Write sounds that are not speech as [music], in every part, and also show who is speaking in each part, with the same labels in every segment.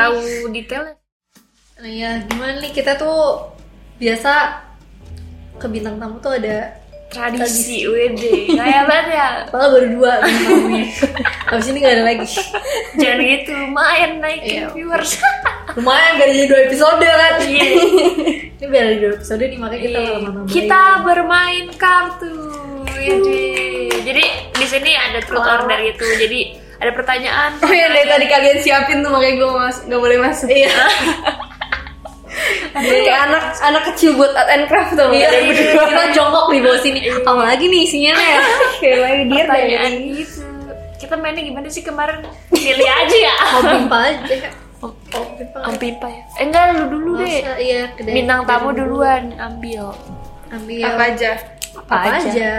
Speaker 1: tahu detailnya.
Speaker 2: Nah ya gimana nih kita tuh biasa ke bintang tamu tuh ada
Speaker 1: Tradisi WD. Kayak banget ya.
Speaker 2: malah baru dua bintang tamunya. Abis ini nggak ada lagi.
Speaker 1: Jangan gitu, lumayan naikin
Speaker 2: Iya.
Speaker 1: viewers.
Speaker 2: Lumayan gak ada jadi dua episode kan.
Speaker 1: Iya.
Speaker 2: ini biar ada dua episode nih makanya kita lama-lama. Uh.
Speaker 1: Kita bermain kartu. Jadi, jadi di sini ada truth
Speaker 2: Wow.
Speaker 1: order gitu. Jadi ada pertanyaan.
Speaker 3: Oh ya dari tadi kalian siapin tuh makanya gue mas nggak boleh masuk.
Speaker 2: Iya.
Speaker 3: Jadi kayak anak anak kecil buat art and craft tuh.
Speaker 2: Iya,
Speaker 3: Kalian berdua.
Speaker 2: kita jongkok di bawah sini. Apa lagi nih isinya nih?
Speaker 3: Kayak lagi dia
Speaker 1: pertanyaan gitu. Kita mainnya gimana sih kemarin? Pilih aja ya.
Speaker 2: Mau pimpa aja. Mau pimpa.
Speaker 1: Om Pimpa ya. Eh, enggak lu dulu deh.
Speaker 2: Masa, Iya, kedai-
Speaker 1: Bintang
Speaker 2: kedai
Speaker 1: tamu duluan ambil.
Speaker 2: Ambil
Speaker 3: Apa aja?
Speaker 2: Apa aja?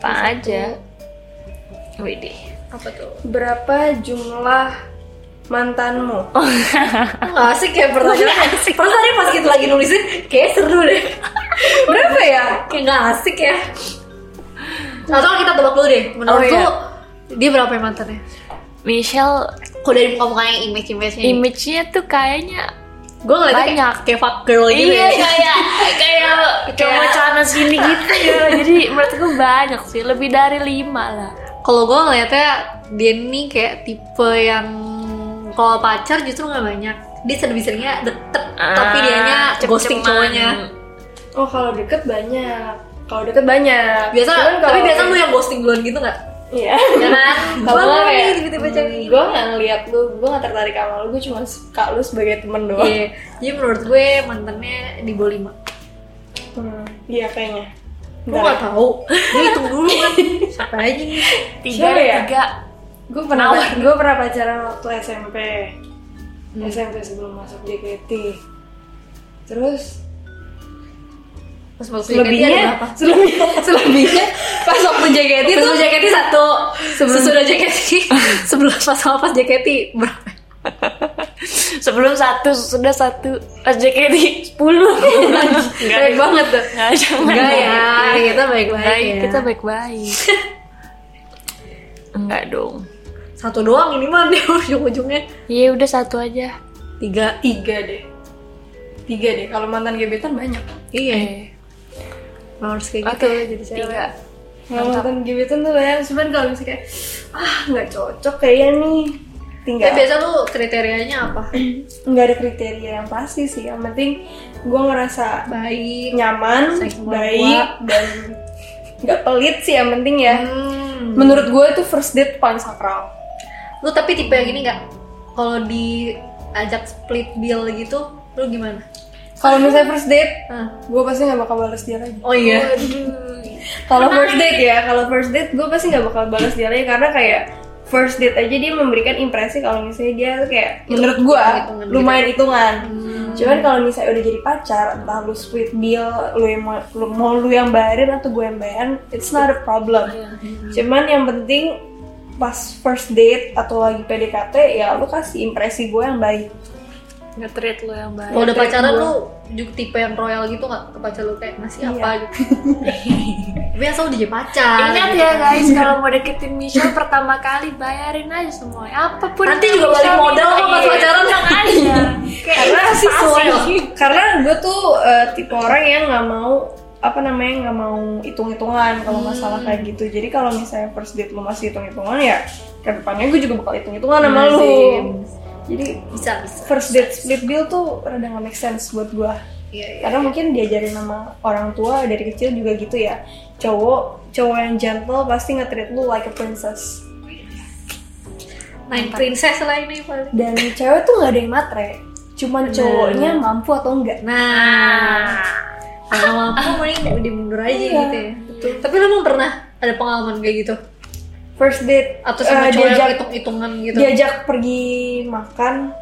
Speaker 1: Apa aja? Widih.
Speaker 2: Apa tuh?
Speaker 3: Berapa jumlah mantanmu?
Speaker 2: [laughs] Nggak asik kayak pertanyaan asik. Terus tadi pas kita lagi nulisin kayak seru deh
Speaker 3: Berapa ya?
Speaker 2: Kayak nggak asik ya Atau Nah, kita tebak dulu deh Menurut
Speaker 3: Oh, iya.
Speaker 2: lu Dia berapa yang mantannya?
Speaker 1: Michelle
Speaker 2: Kok dari muka-mukanya image-image-nya nih?
Speaker 1: image-nya tuh kayaknya
Speaker 2: Gue ngeliatnya
Speaker 1: Banyak.
Speaker 2: kayak, kayak fuck girl gitu
Speaker 1: iya
Speaker 2: ya
Speaker 1: kayak kayak
Speaker 2: [laughs]
Speaker 1: cowok celana sini gitu ya jadi menurut gue banyak sih lebih dari lima lah
Speaker 2: Kalau gue ngeliatnya dia nih kayak tipe yang kalau pacar justru nggak banyak dia lebih seringnya deket tapi
Speaker 1: Ah,
Speaker 2: dianya
Speaker 1: cem-ceman.
Speaker 2: ghosting cowoknya
Speaker 3: Oh kalau deket banyak. Kalau deket banyak.
Speaker 2: biasa
Speaker 3: Cuman kalau-
Speaker 2: tapi biasa lu yang ghosting duluan gitu nggak
Speaker 3: [laughs] Iya.
Speaker 2: ya kan
Speaker 3: Kalau gue
Speaker 2: Banget
Speaker 3: kayak
Speaker 2: nih tiba-tiba gitu, cewek
Speaker 3: gue nggak ngeliat lu, gue nggak tertarik sama lu, gue cuma suka lu sebagai temen doang.
Speaker 2: Iya, jadi menurut gue mantannya di bawah lima.
Speaker 3: Hmm, Iya kayaknya. ya.
Speaker 2: Gue gak tau. Gue hitung dulu kan. Siapa aja nih?
Speaker 1: tiga
Speaker 3: Siapa ya?
Speaker 1: tiga
Speaker 3: Gue pernah
Speaker 1: Nawar.
Speaker 3: gue pernah pacaran waktu SMP. SMP sebelum masuk JKT. Terus
Speaker 2: Pas masuk
Speaker 3: selebihnya selebihnya selebihnya pas waktu JKT
Speaker 2: Itu
Speaker 3: itu
Speaker 2: sebelum JKT satu. Sesudah JKT. Sebelum pas sama pas JKT berapa?
Speaker 1: sebelum satu sudah satu pas JKT
Speaker 2: [laughs]
Speaker 1: sepuluh
Speaker 2: Baik banget tuh.
Speaker 1: nggak jangan
Speaker 2: Enggak ya, kita baik-baik
Speaker 1: baik
Speaker 2: ya.
Speaker 1: kita baik
Speaker 2: [laughs]
Speaker 1: baik enggak dong
Speaker 2: Satu doang ini [laughs] mah dia ujung-ujungnya.
Speaker 1: ya udah satu aja
Speaker 2: Tiga.
Speaker 3: tiga deh tiga deh kalau mantan gebetan banyak
Speaker 2: Iya.
Speaker 1: eh,
Speaker 2: Mau harus kayak gitu
Speaker 1: oke
Speaker 2: ya jadi cewek.
Speaker 1: tiga
Speaker 3: kalau mantan gebetan tuh banyak cuman kalau misalnya kayak, ah nggak cocok kayaknya nih
Speaker 2: Tapi
Speaker 3: tinggal
Speaker 2: biasa lu kriterianya apa?
Speaker 3: nggak ada kriteria yang pasti sih yang penting gue ngerasa
Speaker 2: Baik.
Speaker 3: nyaman
Speaker 2: Seksual
Speaker 3: baik dan nggak pelit sih yang penting ya
Speaker 2: Hmm.
Speaker 3: menurut gue itu first date paling sakral
Speaker 2: Lu tapi tipe yang ini nggak? Kalau diajak split bill gitu, lu gimana? Ah.
Speaker 3: kalau misalnya first date
Speaker 2: Hah.
Speaker 3: gue pasti nggak bakal balas dia lagi
Speaker 2: Oh iya.
Speaker 3: Kalau first date ya, kalau first date gue pasti nggak bakal balas dia lagi karena kayak first date aja dia memberikan impresi kalau misalnya dia tuh kayak menurut gue
Speaker 2: hitungan gitu. Hmm.
Speaker 3: lumayan hitungan. Cuman kalau misalnya udah jadi pacar, entah lu split bill, lu yang mau, lu, mau lu yang bayarin atau gue yang bayarin, it's not a problem.
Speaker 2: Iya. Hmm.
Speaker 3: Cuman yang penting pas first date atau lagi PDKT ya lu kasih impresi gue yang baik.
Speaker 1: nge-treat lo yang baik
Speaker 2: Kalau udah
Speaker 3: Kayak
Speaker 2: pacaran
Speaker 3: gua.
Speaker 2: lu juga tipe yang royal gitu nggak ke pacar lu kayak masih
Speaker 3: Iya.
Speaker 2: apa [laughs] gitu. Biasa udah jadi pacar.
Speaker 1: Ingat
Speaker 2: gitu
Speaker 1: ya
Speaker 2: kan.
Speaker 1: guys, kalau mau deketin Michelle pertama kali bayarin aja semuanya. Apapun
Speaker 2: Nanti
Speaker 1: yang
Speaker 2: juga
Speaker 1: Michelle
Speaker 2: balik modal
Speaker 1: minta,
Speaker 2: kok pas
Speaker 1: iya.
Speaker 2: pacaran. kan,
Speaker 1: Tenang aja. Kayak
Speaker 3: karena
Speaker 2: Iya,
Speaker 3: sih
Speaker 1: investasi.
Speaker 3: karena gue tuh eh, tipe orang yang nggak mau apa namanya nggak mau hitung-hitungan kalau masalah kayak gitu jadi kalau misalnya first date lu masih hitung-hitungan ya kedepannya gue juga bakal hitung-hitungan sama
Speaker 2: Iya
Speaker 3: lu
Speaker 2: Masih.
Speaker 3: jadi
Speaker 2: Bisa bisa.
Speaker 3: first date split bill tuh rada nggak make sense buat gue
Speaker 2: Iya iya.
Speaker 3: karena mungkin diajarin sama orang tua dari kecil juga gitu ya cowok cowok yang gentle pasti nge-treat lu like a princess
Speaker 2: Nine princess lah ini paling.
Speaker 3: dan cewek tuh nggak ada yang matre cuman cowoknya mampu atau enggak
Speaker 2: Nah, kalau mampu mending dimundur aja
Speaker 3: Ah. Iya,
Speaker 2: gitu ya. Tapi lu emang pernah ada pengalaman kayak gitu?
Speaker 3: first date
Speaker 2: Atau sama
Speaker 3: eh,
Speaker 2: cowok yang
Speaker 3: diajak
Speaker 2: hitung-hitungan gitu?
Speaker 3: diajak pergi makan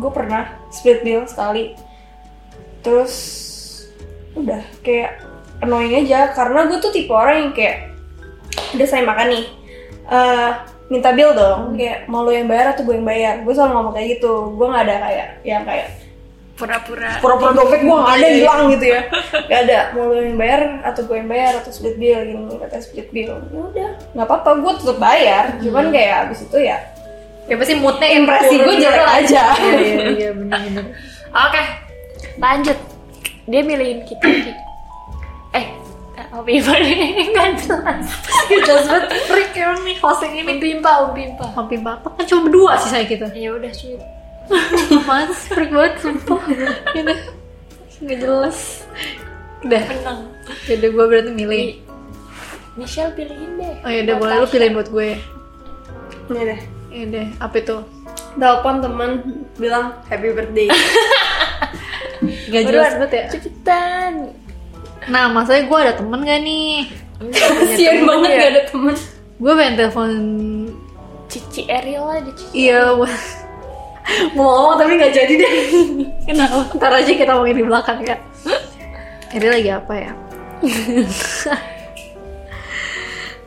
Speaker 3: gue pernah split bill sekali terus udah kayak annoying aja karena gue tuh tipe orang yang kayak udah saya makan nih eh, minta bill dong kayak mau lo yang bayar atau gue yang bayar gue selalu ngomong kayak gitu gue nggak ada kayak yang kayak
Speaker 1: Pura-pura.
Speaker 3: pura-pura dompet gue nggak ada hilang gitu ya nggak ada mau lo yang bayar atau gue yang bayar atau split bill gini katanya split bill ya udah nggak apa-apa gue tetap bayar cuman kayak abis itu ya
Speaker 2: ya pasti moodnya
Speaker 3: Impresi
Speaker 2: turun
Speaker 3: gue jelek
Speaker 2: lah.
Speaker 3: aja.
Speaker 2: iya iya, iya benar-benar oke
Speaker 1: lanjut dia milihin kita Ki. eh Hobi nggak jelas
Speaker 2: jelas banget freak emang nih host yang ini
Speaker 1: Umpi impa, umpi impa
Speaker 2: Hampir bapak kan cuma berdua sih saya kita
Speaker 1: Ya udah sweet
Speaker 2: Mas, freak banget
Speaker 1: [laughs]
Speaker 2: sumpah Gitu Nggak jelas Udah
Speaker 1: Menang
Speaker 2: Yaudah gue berarti milih
Speaker 1: Mi- Michelle pilihin deh
Speaker 2: Oh yaudah boleh lu pilihin buat gue
Speaker 3: Ini deh.
Speaker 2: Yaudah apa itu
Speaker 3: Telepon teman bilang happy birthday.
Speaker 2: Gak jelas banget ya
Speaker 1: Cepetan
Speaker 2: Nah masalahnya gue ada temen gak nih
Speaker 3: Kasian banget gak ada teman.
Speaker 2: Gue pengen telepon
Speaker 1: Cici Ariel lah di Cici
Speaker 2: Iya buat Mau ngomong tapi gak jadi deh Kenapa? Ntar aja kita ngomongin di belakang ya Ini lagi apa ya?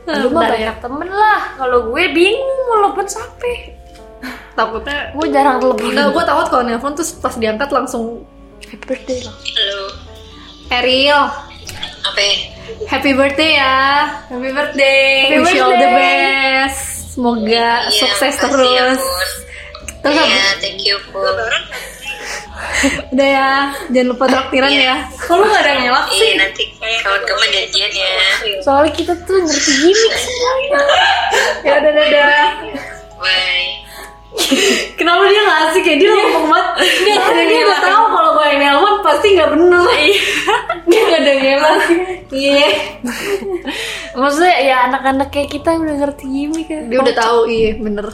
Speaker 1: Lu mah
Speaker 2: Bentar ya.
Speaker 1: banyak temen lah Kalau gue bingung mau telepon siapa
Speaker 2: Takutnya
Speaker 1: Gue jarang telepon
Speaker 2: Enggak, gue takut kalau nelpon terus pas diangkat langsung
Speaker 1: Happy birthday lah
Speaker 4: Halo,
Speaker 2: Ariel,
Speaker 4: apa?
Speaker 2: happy birthday ya
Speaker 3: Happy birthday.
Speaker 2: Happy Wish you all the best Semoga sukses
Speaker 4: Iya, makasih ya,
Speaker 2: terus
Speaker 4: Bun.
Speaker 2: Terus
Speaker 4: Iya,
Speaker 2: apa?
Speaker 4: thank you, Bun.
Speaker 2: Udah ya, jangan lupa traktiran ya
Speaker 3: Kok lu gak ada yang ngelak
Speaker 4: Iya, nanti kawan-kawan janjian ya.
Speaker 1: Soalnya kita tuh ngerti gimmick
Speaker 3: Ya udah dadah.
Speaker 4: Bye.
Speaker 2: Kenapa dia gak asik ya? Dia ngomong banget Dia karena dia Iya. udah tau kalau gue yang nelpon pasti gak bener [laughs]
Speaker 3: Dia gak ada yang ngelak.
Speaker 2: Iya
Speaker 1: Maksudnya ya anak-anak kayak kita udah ngerti gimmick kan
Speaker 2: Dia udah tahu iya bener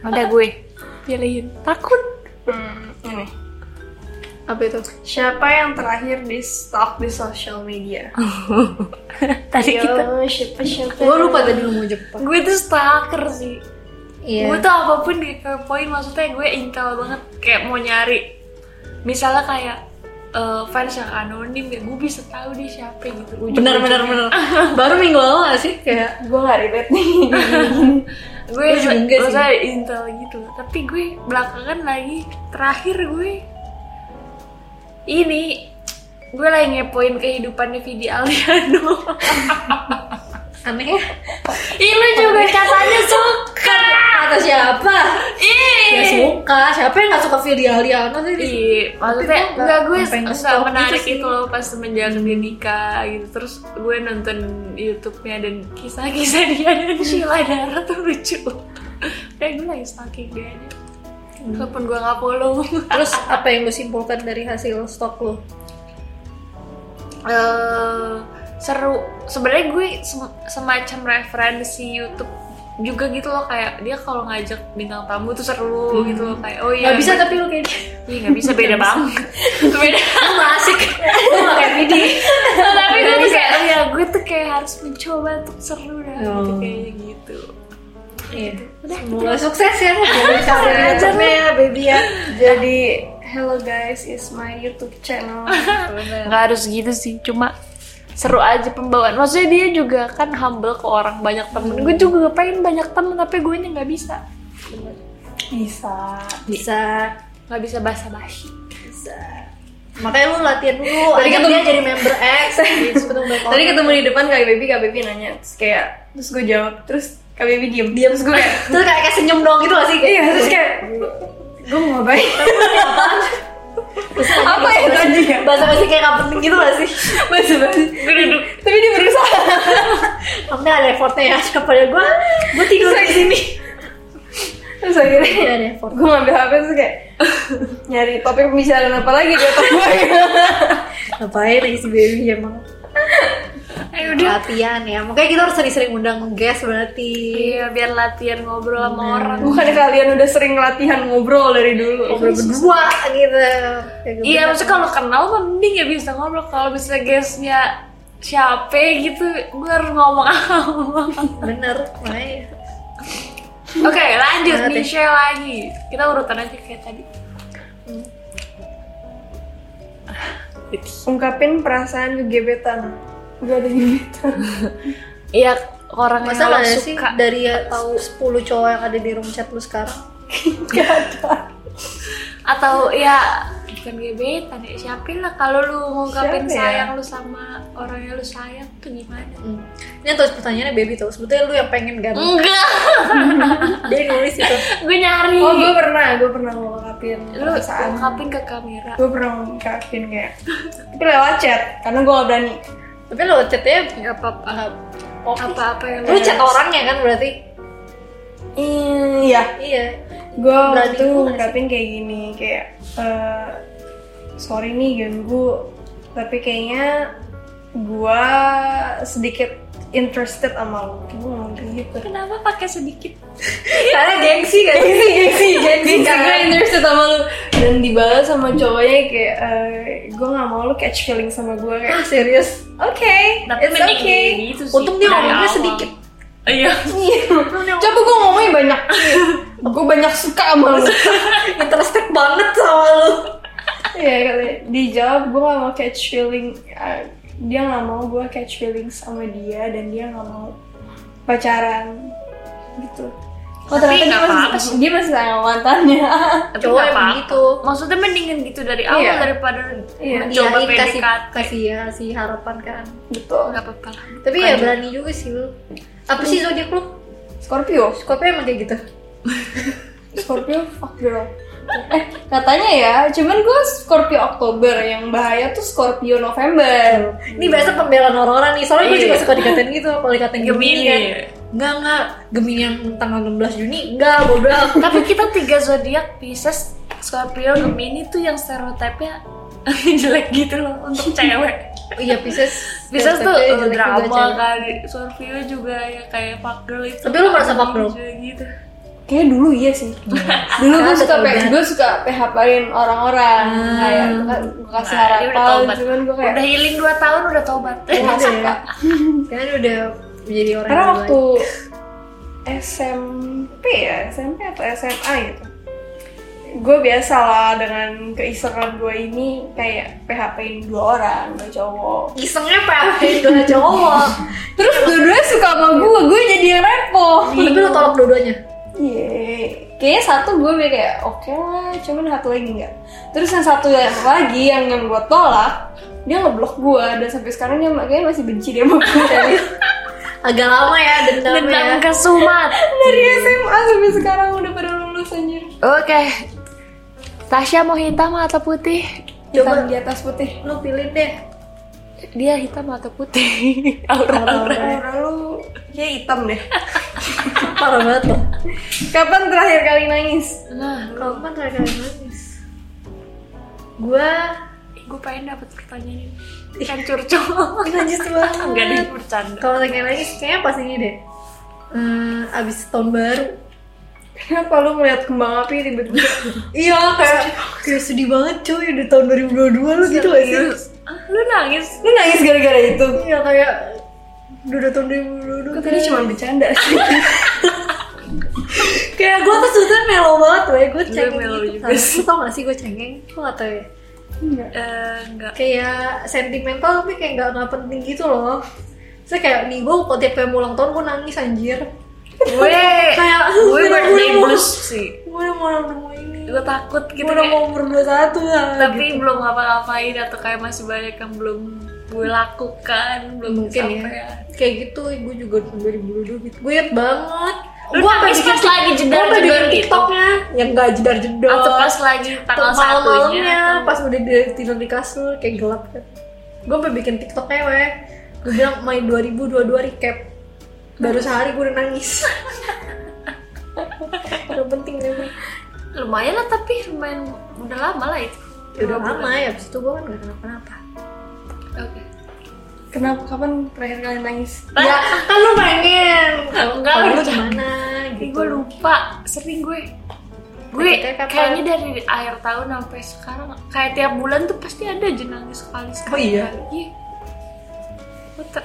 Speaker 1: Oh, Udah gue pilihin Takut [laughs]
Speaker 3: Hmm, ini.
Speaker 2: Apa itu?
Speaker 3: Siapa yang terakhir di stalk di social media?
Speaker 1: Tadi
Speaker 2: Iya.
Speaker 1: kita
Speaker 3: siapa siapa?
Speaker 2: Gue lupa tadi lu mau jepang
Speaker 1: Gue tuh stalker sih Gue
Speaker 2: Iya
Speaker 1: tuh apapun dikepoin maksudnya gue intel banget kayak mau nyari misalnya kayak eh, fans yang anonim ya gue bisa tahu dia siapa gitu. Ujung-
Speaker 2: Bener bener [laughs] bener Baru minggu lalu gak sih? Kayak
Speaker 3: Gue gak relate nih.
Speaker 1: Gue
Speaker 2: Gue juga enggak sih.
Speaker 1: maksudnya intel gitu. Tapi gue belakangan lagi terakhir gue ini gue lagi ngepoin kehidupannya Vidi Aliano.
Speaker 2: [laughs] aneh ya
Speaker 1: Ih lu juga
Speaker 2: kan?
Speaker 1: katanya suka.
Speaker 2: Atau siapa? Gak
Speaker 1: Ih.
Speaker 2: suka, siapa yang gak suka Vidi Aliano sih?
Speaker 1: Iya, maksudnya
Speaker 2: Tapi gua
Speaker 1: enggak gue
Speaker 2: sampai
Speaker 1: enggak
Speaker 2: nge-stalk
Speaker 1: menarik
Speaker 2: gitu sih.
Speaker 1: itu loh pas semenjak dia nikah gitu. Terus gue nonton YouTube-nya dan kisah-kisah dia dan Sheila Dara tuh lucu. [laughs] Dan gue lagi stalking dia aja. Walaupun gue gak follow.
Speaker 2: Terus apa yang lu simpulkan dari hasil stok lu?
Speaker 1: Eh, seru. Sebenarnya gue sem- semacam referensi YouTube juga gitu loh kayak dia kalau ngajak bintang tamu tuh seru gitu loh kayak oh iya
Speaker 2: Gak Hmm. bisa tapi lu kayak
Speaker 1: Iya, nggak bisa
Speaker 2: [laughs]
Speaker 1: beda banget [laughs] beda
Speaker 2: Lu gak asik Lu gak kayak Vidi
Speaker 1: Nah, tapi gue tuh kayak ya gue tuh kayak harus mencoba untuk seru dah gitu
Speaker 2: Oh.
Speaker 1: kayaknya gitu
Speaker 2: Iya Semoga sukses ya
Speaker 3: Karena
Speaker 2: Sukses.
Speaker 3: ya, baby ya. Jadi, hello guys, it's my YouTube channel.
Speaker 1: nggak harus gitu sih cuma seru aja pembawaan maksudnya dia juga kan humble ke orang banyak temen gue
Speaker 2: Hmm.
Speaker 1: juga pengen banyak temen tapi gue nya nggak bisa
Speaker 3: Bisa.
Speaker 2: Bisa
Speaker 1: nggak bisa basa basi
Speaker 2: Bisa Makanya lu latihan dulu
Speaker 3: Tadi
Speaker 2: ajak
Speaker 3: ketemu-
Speaker 2: dia jadi member X
Speaker 1: Iya,
Speaker 3: Tadi ketemu di depan Kak Baby, Kak Baby nanya terus kayak terus gue jawab terus Kak Baby diem diem terus gue kayak
Speaker 2: Terus kayak, kayak senyum dong gitu gak sih?
Speaker 3: iya terus kayak gue mau ngapain apa ya tadi ya
Speaker 2: Bahasa bahasa kayak gak penting gitu gak sih?
Speaker 3: masih masih
Speaker 1: gue duduk
Speaker 3: tapi dia berusaha
Speaker 2: Maksudnya ada effortnya ya Siapa ya gue Gue tidur
Speaker 1: ya?
Speaker 2: di sini
Speaker 3: terus akhirnya
Speaker 2: Iya ada effort
Speaker 3: gue ngambil HP terus kayak nyari topik pembicaraan apa lagi di otak gue
Speaker 2: Ngapain lagi si baby emang
Speaker 1: ayo Eh, udah
Speaker 2: latihan ya makanya kita harus sering-sering undang guest berarti
Speaker 1: iya biar latihan ngobrol sama orang
Speaker 3: bukan kalian udah sering latihan ngobrol dari dulu
Speaker 2: ngobrol berdua gitu
Speaker 1: Iya, maksudnya kalau kenal mah mending ya bisa ngobrol. Kalau bisa guestnya siapa gitu, gue harus ngomong [laughs] apa.
Speaker 2: bener makanya
Speaker 1: Oke, lanjut
Speaker 2: Banget
Speaker 1: nih
Speaker 2: ya.
Speaker 1: share lagi. Kita urutan aja kayak tadi.
Speaker 3: ungkapin perasaan kegebetan gue ada gebetan
Speaker 1: Iya, orang
Speaker 2: masa
Speaker 1: yang
Speaker 2: nggak
Speaker 1: lo
Speaker 2: ada sih
Speaker 1: suka.
Speaker 2: dari ya, tahu 10 cowok yang ada di room chat lu sekarang
Speaker 1: Atau ya bukan gebetan ya siapin lah kalau lu ngungkapin
Speaker 3: Siapa ya?
Speaker 1: sayang lu sama orang yang lu sayang tuh gimana
Speaker 2: Hmm. Ini tuh pertanyaannya baby tuh. Sebetulnya lu yang pengen kan?
Speaker 1: [laughs] enggak
Speaker 2: Dia nulis itu.
Speaker 1: gue nyari
Speaker 3: Oh, gue pernah, gue pernah ngungkapin
Speaker 1: lu
Speaker 3: perasaan.
Speaker 1: ngungkapin ke kamera
Speaker 3: Gue pernah ngungkapin kayak, tapi lewat chat, karena gue gak berani.
Speaker 2: Tapi lo chatnya nggak apa-apa.
Speaker 1: apa-apa yang
Speaker 2: Lu chat orang ya kan berarti?
Speaker 3: Hmm, iya.
Speaker 2: Iya.
Speaker 3: Gue waktu
Speaker 2: Berani
Speaker 3: itu
Speaker 2: juga sih.
Speaker 3: ngungkapin kayak gini, kayak, eh sorry nih ganggu, tapi kayaknya gue sedikit interested sama lu. Gue ngomong kayak
Speaker 2: [laughs]
Speaker 3: gitu.
Speaker 1: kenapa pakai sedikit
Speaker 2: Karena gengsi kan? Gengsi, gengsi, gengsi.
Speaker 3: Bisa gue interested sama lu kan? Dan dibalas sama cowoknya kayak Gue gak mau lu catch feeling sama gue kayak
Speaker 2: Ah, serius?
Speaker 3: Oke,
Speaker 1: tapi
Speaker 3: it's
Speaker 1: mending
Speaker 3: okay
Speaker 1: gitu sih
Speaker 2: Untung dia
Speaker 1: dari
Speaker 2: ngomongnya
Speaker 1: awal.
Speaker 2: sedikit.
Speaker 1: iya
Speaker 3: Coba gue ngomongnya
Speaker 2: [laughs]
Speaker 3: banyak Gue banyak suka sama lu
Speaker 2: Interested banget sama lu.
Speaker 3: Iya katanya Dijawab gue gak mau catch feeling Eh, Dia gak mau gue catch feeling sama dia Dan dia gak mau pacaran Gitu Oh,
Speaker 1: Tapi
Speaker 3: ternyata dia
Speaker 1: nggak apa-apa
Speaker 3: masih, dia masih sayang mantannya [laughs]
Speaker 1: Tapi
Speaker 2: Cowok
Speaker 1: nggak
Speaker 2: emang
Speaker 1: apa-apa.
Speaker 2: gitu.
Speaker 1: maksudnya mendingan gitu dari awal
Speaker 3: Iya.
Speaker 1: daripada
Speaker 3: Iya.
Speaker 1: mencoba
Speaker 2: Iyain, kasih
Speaker 1: PDKT
Speaker 2: kasih ya, kasih harapan kan.
Speaker 3: Gitu
Speaker 1: nggak apa-apa lah
Speaker 2: Tapi ya berani juga Hmm. sih lu. Apa sih zodiak lu?
Speaker 3: Scorpio
Speaker 2: Scorpio emang kayak gitu.
Speaker 3: Scorpio fuck girl. Eh, katanya ya, cuman gue Scorpio Oktober yang bahaya tuh Scorpio November.
Speaker 2: Ini biasa pembelaan orang-orang nih. Soalnya gue
Speaker 1: Iya.
Speaker 2: juga suka dikatain gitu kalau dikatain Gemini,
Speaker 1: Gemini.
Speaker 2: kan. Enggak, enggak. Gemini yang tanggal 16 Juni enggak bodoh.
Speaker 1: tapi kita tiga zodiak Pisces Scorpio Gemini tuh yang stereotipnya [laughs] jelek gitu loh [laughs] untuk cewek
Speaker 2: Oh iya Pisces.
Speaker 1: Pisces tuh
Speaker 2: Stereotipnya
Speaker 1: eh,
Speaker 2: jelek juga,
Speaker 1: drama
Speaker 2: cewek.
Speaker 1: kan Scorpio juga ya kayak fuck girl itu
Speaker 2: Tapi lu merasa fuck girl?
Speaker 1: Juga gitu
Speaker 3: Kayaknya dulu iya sih. Dulu gue suka pe- gue suka PHP-in orang-orang. Kayak gue kasih
Speaker 1: Nah, dia udah
Speaker 3: harapan,
Speaker 1: tobat
Speaker 3: cuman gue kayak
Speaker 1: udah healing 2 tahun udah tobat
Speaker 3: gue nggak
Speaker 1: iya.
Speaker 3: suka.
Speaker 2: Kan udah jadi orang
Speaker 3: Karena
Speaker 2: yang
Speaker 3: waktu
Speaker 2: baik.
Speaker 3: SMP ya, SMP atau SMA gitu. Gue biasa lah dengan keisengan gue ini kayak PHP-in dua orang, dua cowok.
Speaker 2: isengnya PHP-in dua cowok.
Speaker 3: [laughs] Terus dua-duanya suka sama gue, gue jadi yang repot.
Speaker 2: Tapi lu tolak dua-duanya.
Speaker 3: Iya, kayaknya satu gue biar kayak oke lah, cuman satu lagi enggak. Terus yang satu yang lagi yang yang gue tolak, dia ngeblok gue dan sampai sekarang dia makanya masih benci dia sama gue dari,
Speaker 2: Agak lama ya dendamnya.
Speaker 1: dendam ke Sumat
Speaker 3: dari SMA sampai sekarang udah pada lulus anjir.
Speaker 1: oke Tasya mau hitam atau putih?
Speaker 3: Hitam
Speaker 2: Coba.
Speaker 3: di atas putih.
Speaker 2: Lu pilih deh.
Speaker 1: Dia hitam atau putih? [laughs] Aura-aura
Speaker 3: Aura lu kayak hitam deh.
Speaker 2: Parah banget loh.
Speaker 3: [laughs] Kapan terakhir kali nangis?
Speaker 1: Nah,
Speaker 2: Kalau kan terakhir kali nangis. Gua
Speaker 1: gue pengen dapet pertanyaan ini Kan curcol
Speaker 2: najis banget.
Speaker 1: Enggak deh, bercanda
Speaker 2: Kalau terakhir nangis kayaknya pas ini deh. Hmm, abis tahun baru.
Speaker 3: Kenapa lu ngeliat kembang api tiba-tiba?
Speaker 2: Iya kayak kayak sedih banget cuy udah tahun 2022 lu gitu gak sih?
Speaker 1: Ah, Lu nangis?
Speaker 3: lu nangis gara-gara itu?
Speaker 2: Iya kayak udah tahun
Speaker 3: Gue
Speaker 2: 2022
Speaker 3: tadi cuma bercanda sih.
Speaker 2: kayak gue tuh sebetulnya melo banget weh gue cengeng
Speaker 1: melo
Speaker 2: gitu
Speaker 1: juga
Speaker 2: kan lu tau gak sih gue cengeng lu gak tau ya
Speaker 3: Enggak.
Speaker 1: Eh, enggak
Speaker 2: kayak sentimental tapi kayak gak, nggak penting gitu loh saya kayak nih gue kalau tiap kayak ulang tahun gue nangis anjir
Speaker 1: Gue
Speaker 2: kayak
Speaker 1: Gue
Speaker 2: udah-
Speaker 1: birthday
Speaker 2: udah-
Speaker 1: blues sih
Speaker 2: gue udah mau nemu ini
Speaker 1: Gue takut gitu
Speaker 2: gue udah
Speaker 1: kayak-
Speaker 2: mau umur 21 lah gitu.
Speaker 1: Tapi belum ngapa-ngapain atau kayak masih banyak yang belum gue lakukan Belum
Speaker 2: mungkin ya
Speaker 1: kesampaian.
Speaker 2: kayak gitu gue juga tahun 2022 gitu gue inget banget
Speaker 1: Lu
Speaker 2: Gua sampai
Speaker 1: nangis pas
Speaker 2: bikin-
Speaker 1: lagi
Speaker 2: gua sampai
Speaker 1: jedar-jedar
Speaker 2: bikin
Speaker 1: gitu?
Speaker 2: tiktoknya Ya, yang gak jedar jedar
Speaker 1: Atau pas lagi tanggal satunya kan.
Speaker 2: pas udah di, tidur di kasur kayak gelap kan gue sampai bikin tiktoknya weh gue bilang my 2022 recap baru sehari gue udah nangis [laughs] Gak penting deh Weh.
Speaker 1: Lumayan lah tapi lumayan udah lama lah itu
Speaker 2: Ya udah lama ya abis itu gue kan gak kenapa-napa
Speaker 1: Oke
Speaker 3: Kenapa? Kapan terakhir kali nangis?
Speaker 2: ya kan lu pengen
Speaker 1: Enggak
Speaker 2: Kalau lu
Speaker 1: udah
Speaker 2: gimana
Speaker 1: Tapi
Speaker 2: gitu
Speaker 1: gue lupa, sering gue Gue
Speaker 2: Kayak kapan?
Speaker 1: kayaknya dari akhir tahun sampai sekarang Kayak tiap bulan tuh pasti ada aja nangis sekali-sekali
Speaker 2: Oh iya?
Speaker 1: Iya Gue ter...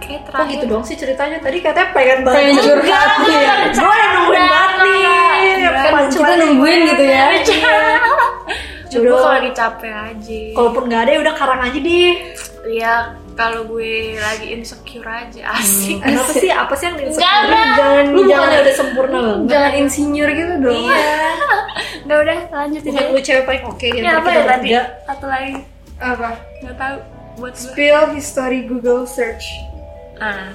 Speaker 1: Kayak
Speaker 2: Kok
Speaker 1: terakhir
Speaker 2: gitu doang sih ceritanya? Tadi katanya pengen banget
Speaker 3: Pengen curhat ya.
Speaker 2: Gue udah nungguin banget nih Iya.
Speaker 1: Enggak,
Speaker 2: Pas
Speaker 3: Kita nungguin gitu ya.
Speaker 1: Coba
Speaker 2: Jodoh.
Speaker 1: kalau lagi capek aja
Speaker 2: Kalaupun gak ada ya udah karang aja deh
Speaker 1: Iya kalau gue lagi insecure aja
Speaker 2: Hmm.
Speaker 1: asik
Speaker 2: Kenapa sih? Apa sih yang
Speaker 1: Enggak,
Speaker 2: disempurna?
Speaker 1: enggak.
Speaker 2: Jangan, lu bukannya udah sempurna banget
Speaker 3: Jangan insinyur gitu dong.
Speaker 2: Iya
Speaker 1: Udah udah lanjutin
Speaker 2: bukan
Speaker 1: aja.
Speaker 2: lu cewek paling oke gitu
Speaker 1: Ini apa
Speaker 2: kita
Speaker 1: ya tadi?
Speaker 2: bertiga.
Speaker 1: Satu lagi
Speaker 3: Apa?
Speaker 1: nggak tahu buat gue.
Speaker 3: Spill history Google search.
Speaker 1: Ah.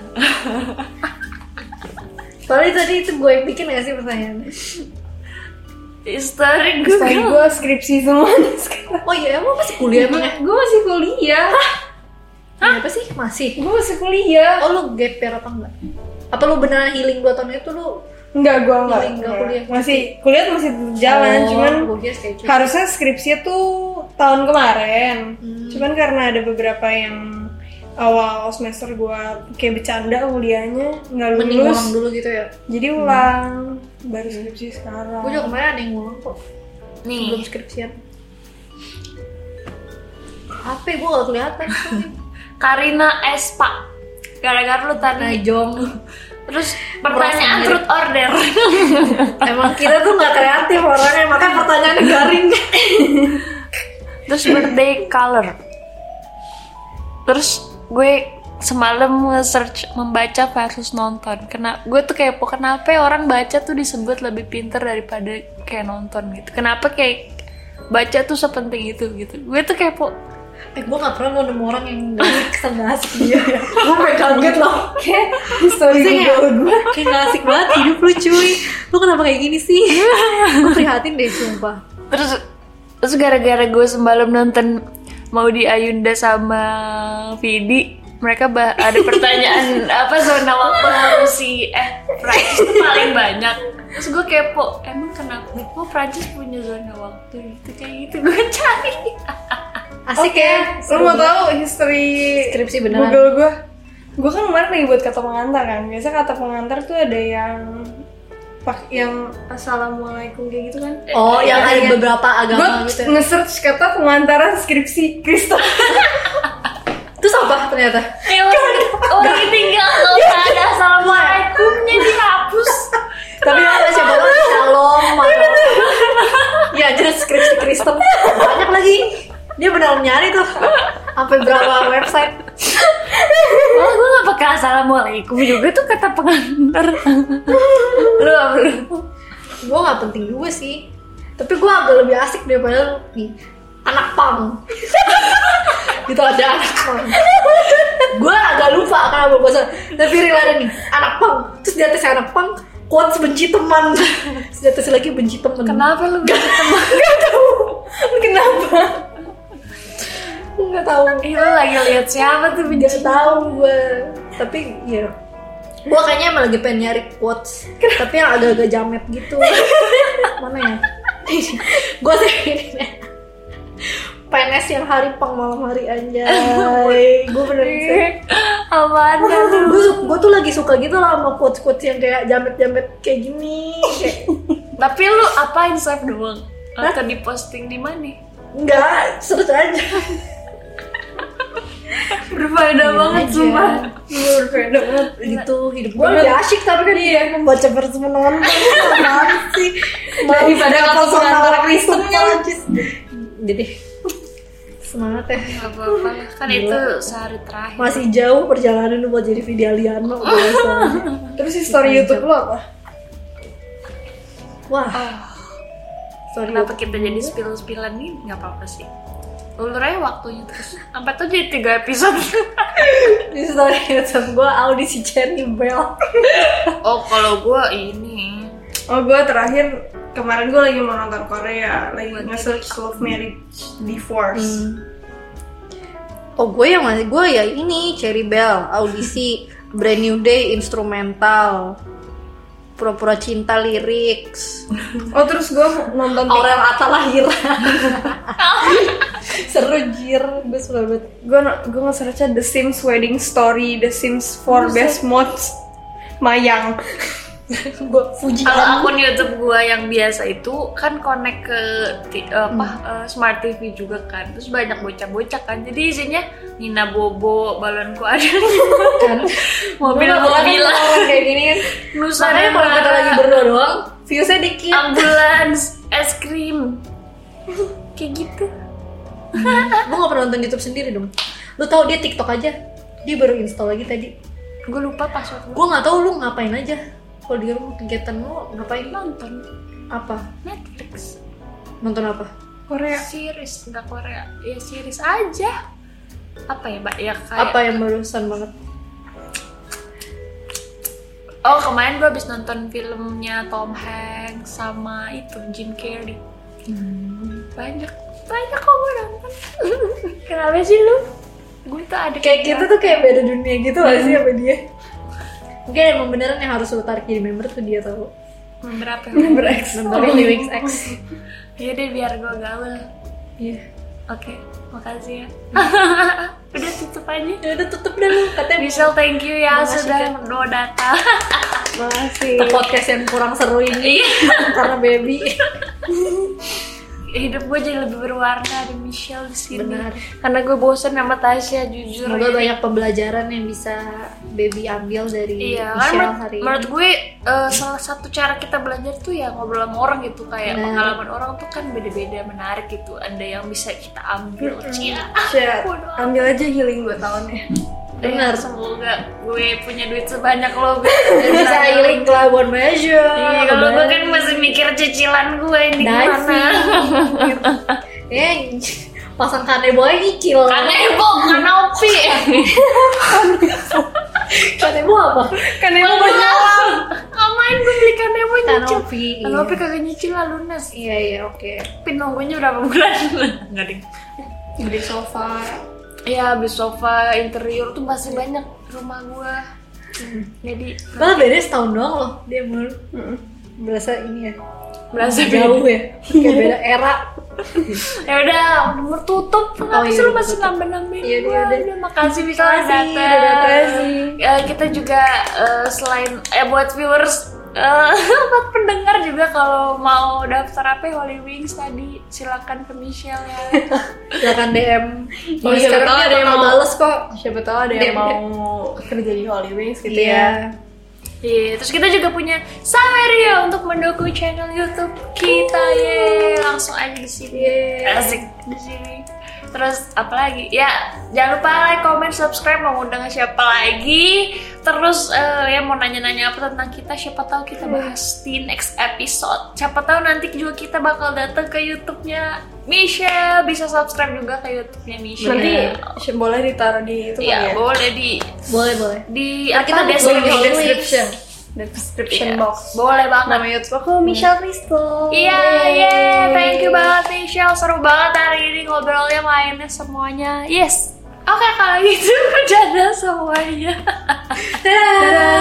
Speaker 2: Soalnya tadi itu gue yang bikin gak sih pertanyaannya?
Speaker 1: History
Speaker 3: History
Speaker 1: Google.
Speaker 3: gue skripsi semua nih sekarang.
Speaker 2: Oh iya, emang masih kuliah emang
Speaker 3: [laughs]
Speaker 2: ya?
Speaker 3: Gue masih kuliah.
Speaker 2: Kenapa sih? Masih?
Speaker 3: Gue masih kuliah.
Speaker 2: Oh lu gap year apa enggak? Apa lu beneran healing 2 tahun itu lu?
Speaker 3: Enggak, gue enggak.
Speaker 2: Enggak, enggak kuliah.
Speaker 3: Masih kuliah tuh masih tetap jalan,
Speaker 2: Oh,
Speaker 3: cuman
Speaker 2: gue kira schedule.
Speaker 3: Iya. harusnya skripsi tuh tahun kemarin.
Speaker 2: Hmm.
Speaker 3: Cuman karena ada beberapa yang awal semester gua kayak bercanda kuliahnya nggak
Speaker 2: Mending
Speaker 3: lulus,
Speaker 2: ulang dulu gitu ya.
Speaker 3: jadi ulang baru skripsi sekarang.
Speaker 2: Gue juga kemarin ada yang ngulang kok. Sebelum
Speaker 1: Nih,
Speaker 2: skripsian. Apa? ya? Gue gak kelihatan.
Speaker 1: Karina S Pak. Gara-gara lu tadi.
Speaker 2: Najong.
Speaker 1: Terus pertanyaan
Speaker 2: Merasa
Speaker 1: truth order.
Speaker 2: [laughs] Emang kita tuh gak kreatif orangnya, makanya pertanyaannya garing.
Speaker 1: Terus birthday color. Terus gue semalam nge-search membaca versus nonton. Kena gue tuh kepo kenapa ya orang baca tuh disebut lebih pinter daripada kayak nonton gitu. Kenapa kayak baca tuh sepenting itu gitu. Gue tuh kepo.
Speaker 2: Eh, gue gak pernah nemu orang yang gak asik gak asik dia ya. Gue sampe kaget loh.
Speaker 3: Kayak history
Speaker 2: Maksudnya
Speaker 3: Google
Speaker 2: kayak,
Speaker 3: gue.
Speaker 2: kayak gak asik banget hidup lu cuy. Lu kenapa kayak gini sih? Gue prihatin deh sumpah.
Speaker 1: Terus terus gara-gara gue semalam nonton mau di Ayunda sama Vidi mereka bah- ada pertanyaan apa zona waktu Rusia eh Prancis tuh paling banyak terus gue kepo emang kenapa kok Prancis punya zona waktu gitu kayak gitu gue cari
Speaker 2: Asik ya. Seru
Speaker 3: Lu mau
Speaker 2: banget.
Speaker 3: tahu history
Speaker 2: Skripsi beneran.
Speaker 3: Google gue? Gue kan kemarin lagi buat kata pengantar kan. Biasa kata pengantar tuh ada yang pak yang assalamualaikum kayak gitu kan.
Speaker 2: Oh, yang ada beberapa
Speaker 3: Gue
Speaker 2: agama gitu. ya.
Speaker 3: nge-search kata pengantaran skripsi Kristo.
Speaker 2: Terus apa ternyata?
Speaker 1: eh orang orang tinggal kalau nggak ada assalamualaikumnya dihapus
Speaker 2: Tapi ada siapa tahu shalom [laughs] atau Ya jadi skripsi Kristen banyak lagi. Dia benar nyari tuh sampai berapa website.
Speaker 1: malah gue nggak pakai assalamualaikum juga tuh kata pengantar lu apa lu
Speaker 2: Gue nggak penting juga sih. Tapi gue agak lebih asik daripada lu. nih anak pang. gitu ada anak pang. gue agak lupa kenapa gue salah. Tapi real ada nih anak pang. Terus di atasnya anak pang. Quotes benci teman. Terus di atasnya lagi benci teman. [laughs]
Speaker 1: kenapa lu bisa teman
Speaker 3: Kenapa?
Speaker 2: Nggak tahu.
Speaker 1: Ih, Eh, lu lagi lihat siapa tuh
Speaker 2: Gak
Speaker 1: benci
Speaker 2: tahu gue tapi ya gue kayaknya emang lagi pengen nyari quotes tapi yang agak-agak jamet [laughs] gitu mana ya gue sih ini PNS yang hari pang malam hari [laughs] anjay gue bener
Speaker 1: apaan dah lu?
Speaker 2: gue gue tuh lagi suka gitu lah sama quotes quotes yang kayak jamet-jamet kayak gini kayak
Speaker 1: tapi lu apain save doang atau di posting di mana
Speaker 2: enggak seru aja
Speaker 1: berfaedah banget
Speaker 2: aja.
Speaker 1: sumpah
Speaker 3: Berbeda banget.
Speaker 2: gitu hidup gue lebih asyik tapi kan iya membaca versi menonton apaan sih
Speaker 3: Daripada kapal pengantar Kristennya.
Speaker 2: Kristennya jadi semangat ya
Speaker 1: Gak apa-apa lah, kan itu sehari terakhir
Speaker 2: masih jauh perjalanan buat jadi Vidaliano guys. Iya,
Speaker 3: Terus history YouTube lo apa?
Speaker 2: wah
Speaker 1: Oh,
Speaker 2: sorry
Speaker 1: kenapa kita jadi spill-spillan nih nggak apa-apa sih ulur aja waktunya terus sampai tuh jadi tiga episode
Speaker 2: di story YouTube gue audisi Cherry Bell
Speaker 1: oh kalau gue ini
Speaker 3: Oh gue terakhir kemarin gue lagi mau nonton Korea lagi nge-search love marriage divorce.
Speaker 2: oh gue yang masih gue ya ini Cherry Bell audisi Brand New Day instrumental pura-pura cinta lyrics
Speaker 1: Hmm.
Speaker 3: Oh terus gue nonton
Speaker 1: Oh.
Speaker 2: Aurel Atta lahir seru jir gue suka banget
Speaker 3: gue gue nge-searchnya The Sims Wedding Story, The Sims for Best Mods, Mayang.
Speaker 2: gue Fuji
Speaker 1: kalau akun YouTube gua yang biasa itu kan connect ke ti- apa
Speaker 2: Hmm.
Speaker 1: eh, smart TV juga kan terus banyak bocah-bocah kan jadi isinya Nina Bobo balonku ada
Speaker 2: kan
Speaker 1: mobil-mobilan
Speaker 2: kayak gini kan
Speaker 1: Nusa
Speaker 2: makanya kalau kita
Speaker 1: Dua,
Speaker 2: lagi berdua doang viewsnya dikit
Speaker 1: ambulans es krim kayak gitu
Speaker 2: gue gak pernah nonton YouTube sendiri dong lu tau dia TikTok aja dia baru install lagi tadi
Speaker 1: gue lupa password gua
Speaker 2: gue nggak tahu lu ngapain aja kalau di rumah kegiatan lu ngapain
Speaker 1: nonton
Speaker 2: apa
Speaker 1: Netflix
Speaker 2: Nonton apa?
Speaker 1: Korea
Speaker 2: Ya.
Speaker 1: series nggak Korea ya series aja apa ya mbak ya kayak
Speaker 2: Apa yang barusan banget?
Speaker 1: oh kemarin gue habis nonton filmnya Tom Hanks sama itu Jim Carrey Hmm. banyak banyak kok gue nonton [laughs] kenapa sih lu gue tuh ada
Speaker 2: Kayak kita tuh kayak beda dunia gitu gak sih sama dia? Mungkin emang beneran yang harus lo tarik jadi member tuh dia tau
Speaker 1: beberapa
Speaker 2: Member X Member X X
Speaker 1: ya deh biar gue gaul
Speaker 2: Iya
Speaker 1: oke
Speaker 2: [laughs]
Speaker 1: makasih ya udah tutup aja
Speaker 2: Ya udah tutup dah lu Katanya
Speaker 1: Michelle thank you ya
Speaker 2: Makasih,
Speaker 1: sudah mau datang
Speaker 3: Makasih.
Speaker 2: ke podcast yang kurang seru ini Karena baby
Speaker 1: [laughs] hidup gue jadi lebih berwarna ada Michelle di sini
Speaker 2: Benar.
Speaker 1: karena gue bosen sama Tasya jujur
Speaker 2: Semoga
Speaker 1: Jadi-
Speaker 2: banyak pembelajaran yang bisa baby ambil dari
Speaker 1: iya kan
Speaker 2: Michelle
Speaker 1: menurut,
Speaker 2: hari ini
Speaker 1: menurut gue eh, salah satu cara kita belajar tuh ya ngobrol sama orang gitu kayak
Speaker 2: Benar.
Speaker 1: pengalaman orang tuh kan beda-beda menarik gitu ada yang bisa kita ambil Cia.
Speaker 3: Cia,
Speaker 1: Waduh.
Speaker 3: ambil aja healing 2 tahun ya.
Speaker 1: Eh,
Speaker 2: Benar.
Speaker 1: semoga gue punya duit sebanyak lo gue
Speaker 2: Dan [laughs] bisa healing ke Labuan Bajo
Speaker 1: Iya, kalau gue kan masih mikir cicilan gue ini
Speaker 2: Nasi.
Speaker 1: gimana
Speaker 2: [laughs] Eh, pasang kanebo aja nyicil
Speaker 1: karena ibu karena
Speaker 2: [laughs]
Speaker 1: opi [laughs]
Speaker 2: Kanebo apa?
Speaker 1: Kan
Speaker 3: Kanebo
Speaker 1: berjalan ngapain gue beli kanebo nyicil
Speaker 2: Kanopi
Speaker 1: kalau opi kagak nyicil lah lunas
Speaker 2: Iya, iya, oke
Speaker 1: Pin nunggunya berapa bulan? [laughs] Enggak ding.
Speaker 3: Beli sofa.
Speaker 1: Iya, beli sofa interior tuh masih banyak rumah gua. Jadi
Speaker 2: Malah beda setahun doang loh Dia mulu
Speaker 3: Mm-mm.
Speaker 2: Berasa ini ya
Speaker 1: berasa
Speaker 2: Jauh ya Kayak beda era
Speaker 1: Ya udah, umur tutup. Kenapa
Speaker 2: Oh,
Speaker 1: sih
Speaker 2: iya,
Speaker 1: lu masih
Speaker 2: tutup.
Speaker 1: nambah-nambahin?
Speaker 2: Iya,
Speaker 1: gua?
Speaker 2: iya, udah.
Speaker 1: Udah, makasih bisa lah
Speaker 2: Makasih,
Speaker 1: datang.
Speaker 2: udah datang.
Speaker 1: Ya, kita juga eh, selain eh buat viewers eh, [laughs] buat pendengar juga kalau mau daftar apa ya, Holy Wings tadi silakan ke Michelle
Speaker 2: [laughs]
Speaker 1: ya.
Speaker 2: Silakan DM
Speaker 3: Oh, iya,
Speaker 2: Instagram
Speaker 3: betul,
Speaker 2: dia
Speaker 3: ada yang
Speaker 2: bakal
Speaker 3: mau-
Speaker 2: bales kok
Speaker 3: Siapa tahu ada
Speaker 2: Dem-
Speaker 3: yang mau kerja di Holy Wings gitu ya.
Speaker 1: Iya, terus kita juga punya Sameria untuk mendukung channel YouTube kita ya. Langsung aja di sini.
Speaker 3: Iya.
Speaker 2: Yeay.
Speaker 1: Asik Iya. di sini. Terus apa lagi? Ya, jangan lupa like, comment, subscribe, mau ngundang siapa lagi. Terus eh, ya mau nanya-nanya apa tentang kita, siapa tahu kita bahas di next episode. Siapa tahu nanti juga kita bakal datang ke YouTube-nya Michelle. Bisa subscribe juga ke YouTube-nya Michelle.
Speaker 3: Nanti si- ya. boleh ditaruh di itu kan
Speaker 1: ya,
Speaker 3: ya.
Speaker 1: boleh di
Speaker 2: Boleh, boleh
Speaker 1: di
Speaker 2: Ntar kita
Speaker 1: di
Speaker 2: biasain di
Speaker 1: description.
Speaker 2: description.
Speaker 3: Di
Speaker 1: Iya,
Speaker 3: description box.
Speaker 1: Boleh banget.
Speaker 3: Nama YouTube aku Michelle Crystal.
Speaker 1: Iya, iya, thank you banget Michelle, seru banget hari ini ngobrolnya, mainnya [laughs] semuanya. Yes. Oke, kalau gitu udah ada semuanya.
Speaker 2: Dadah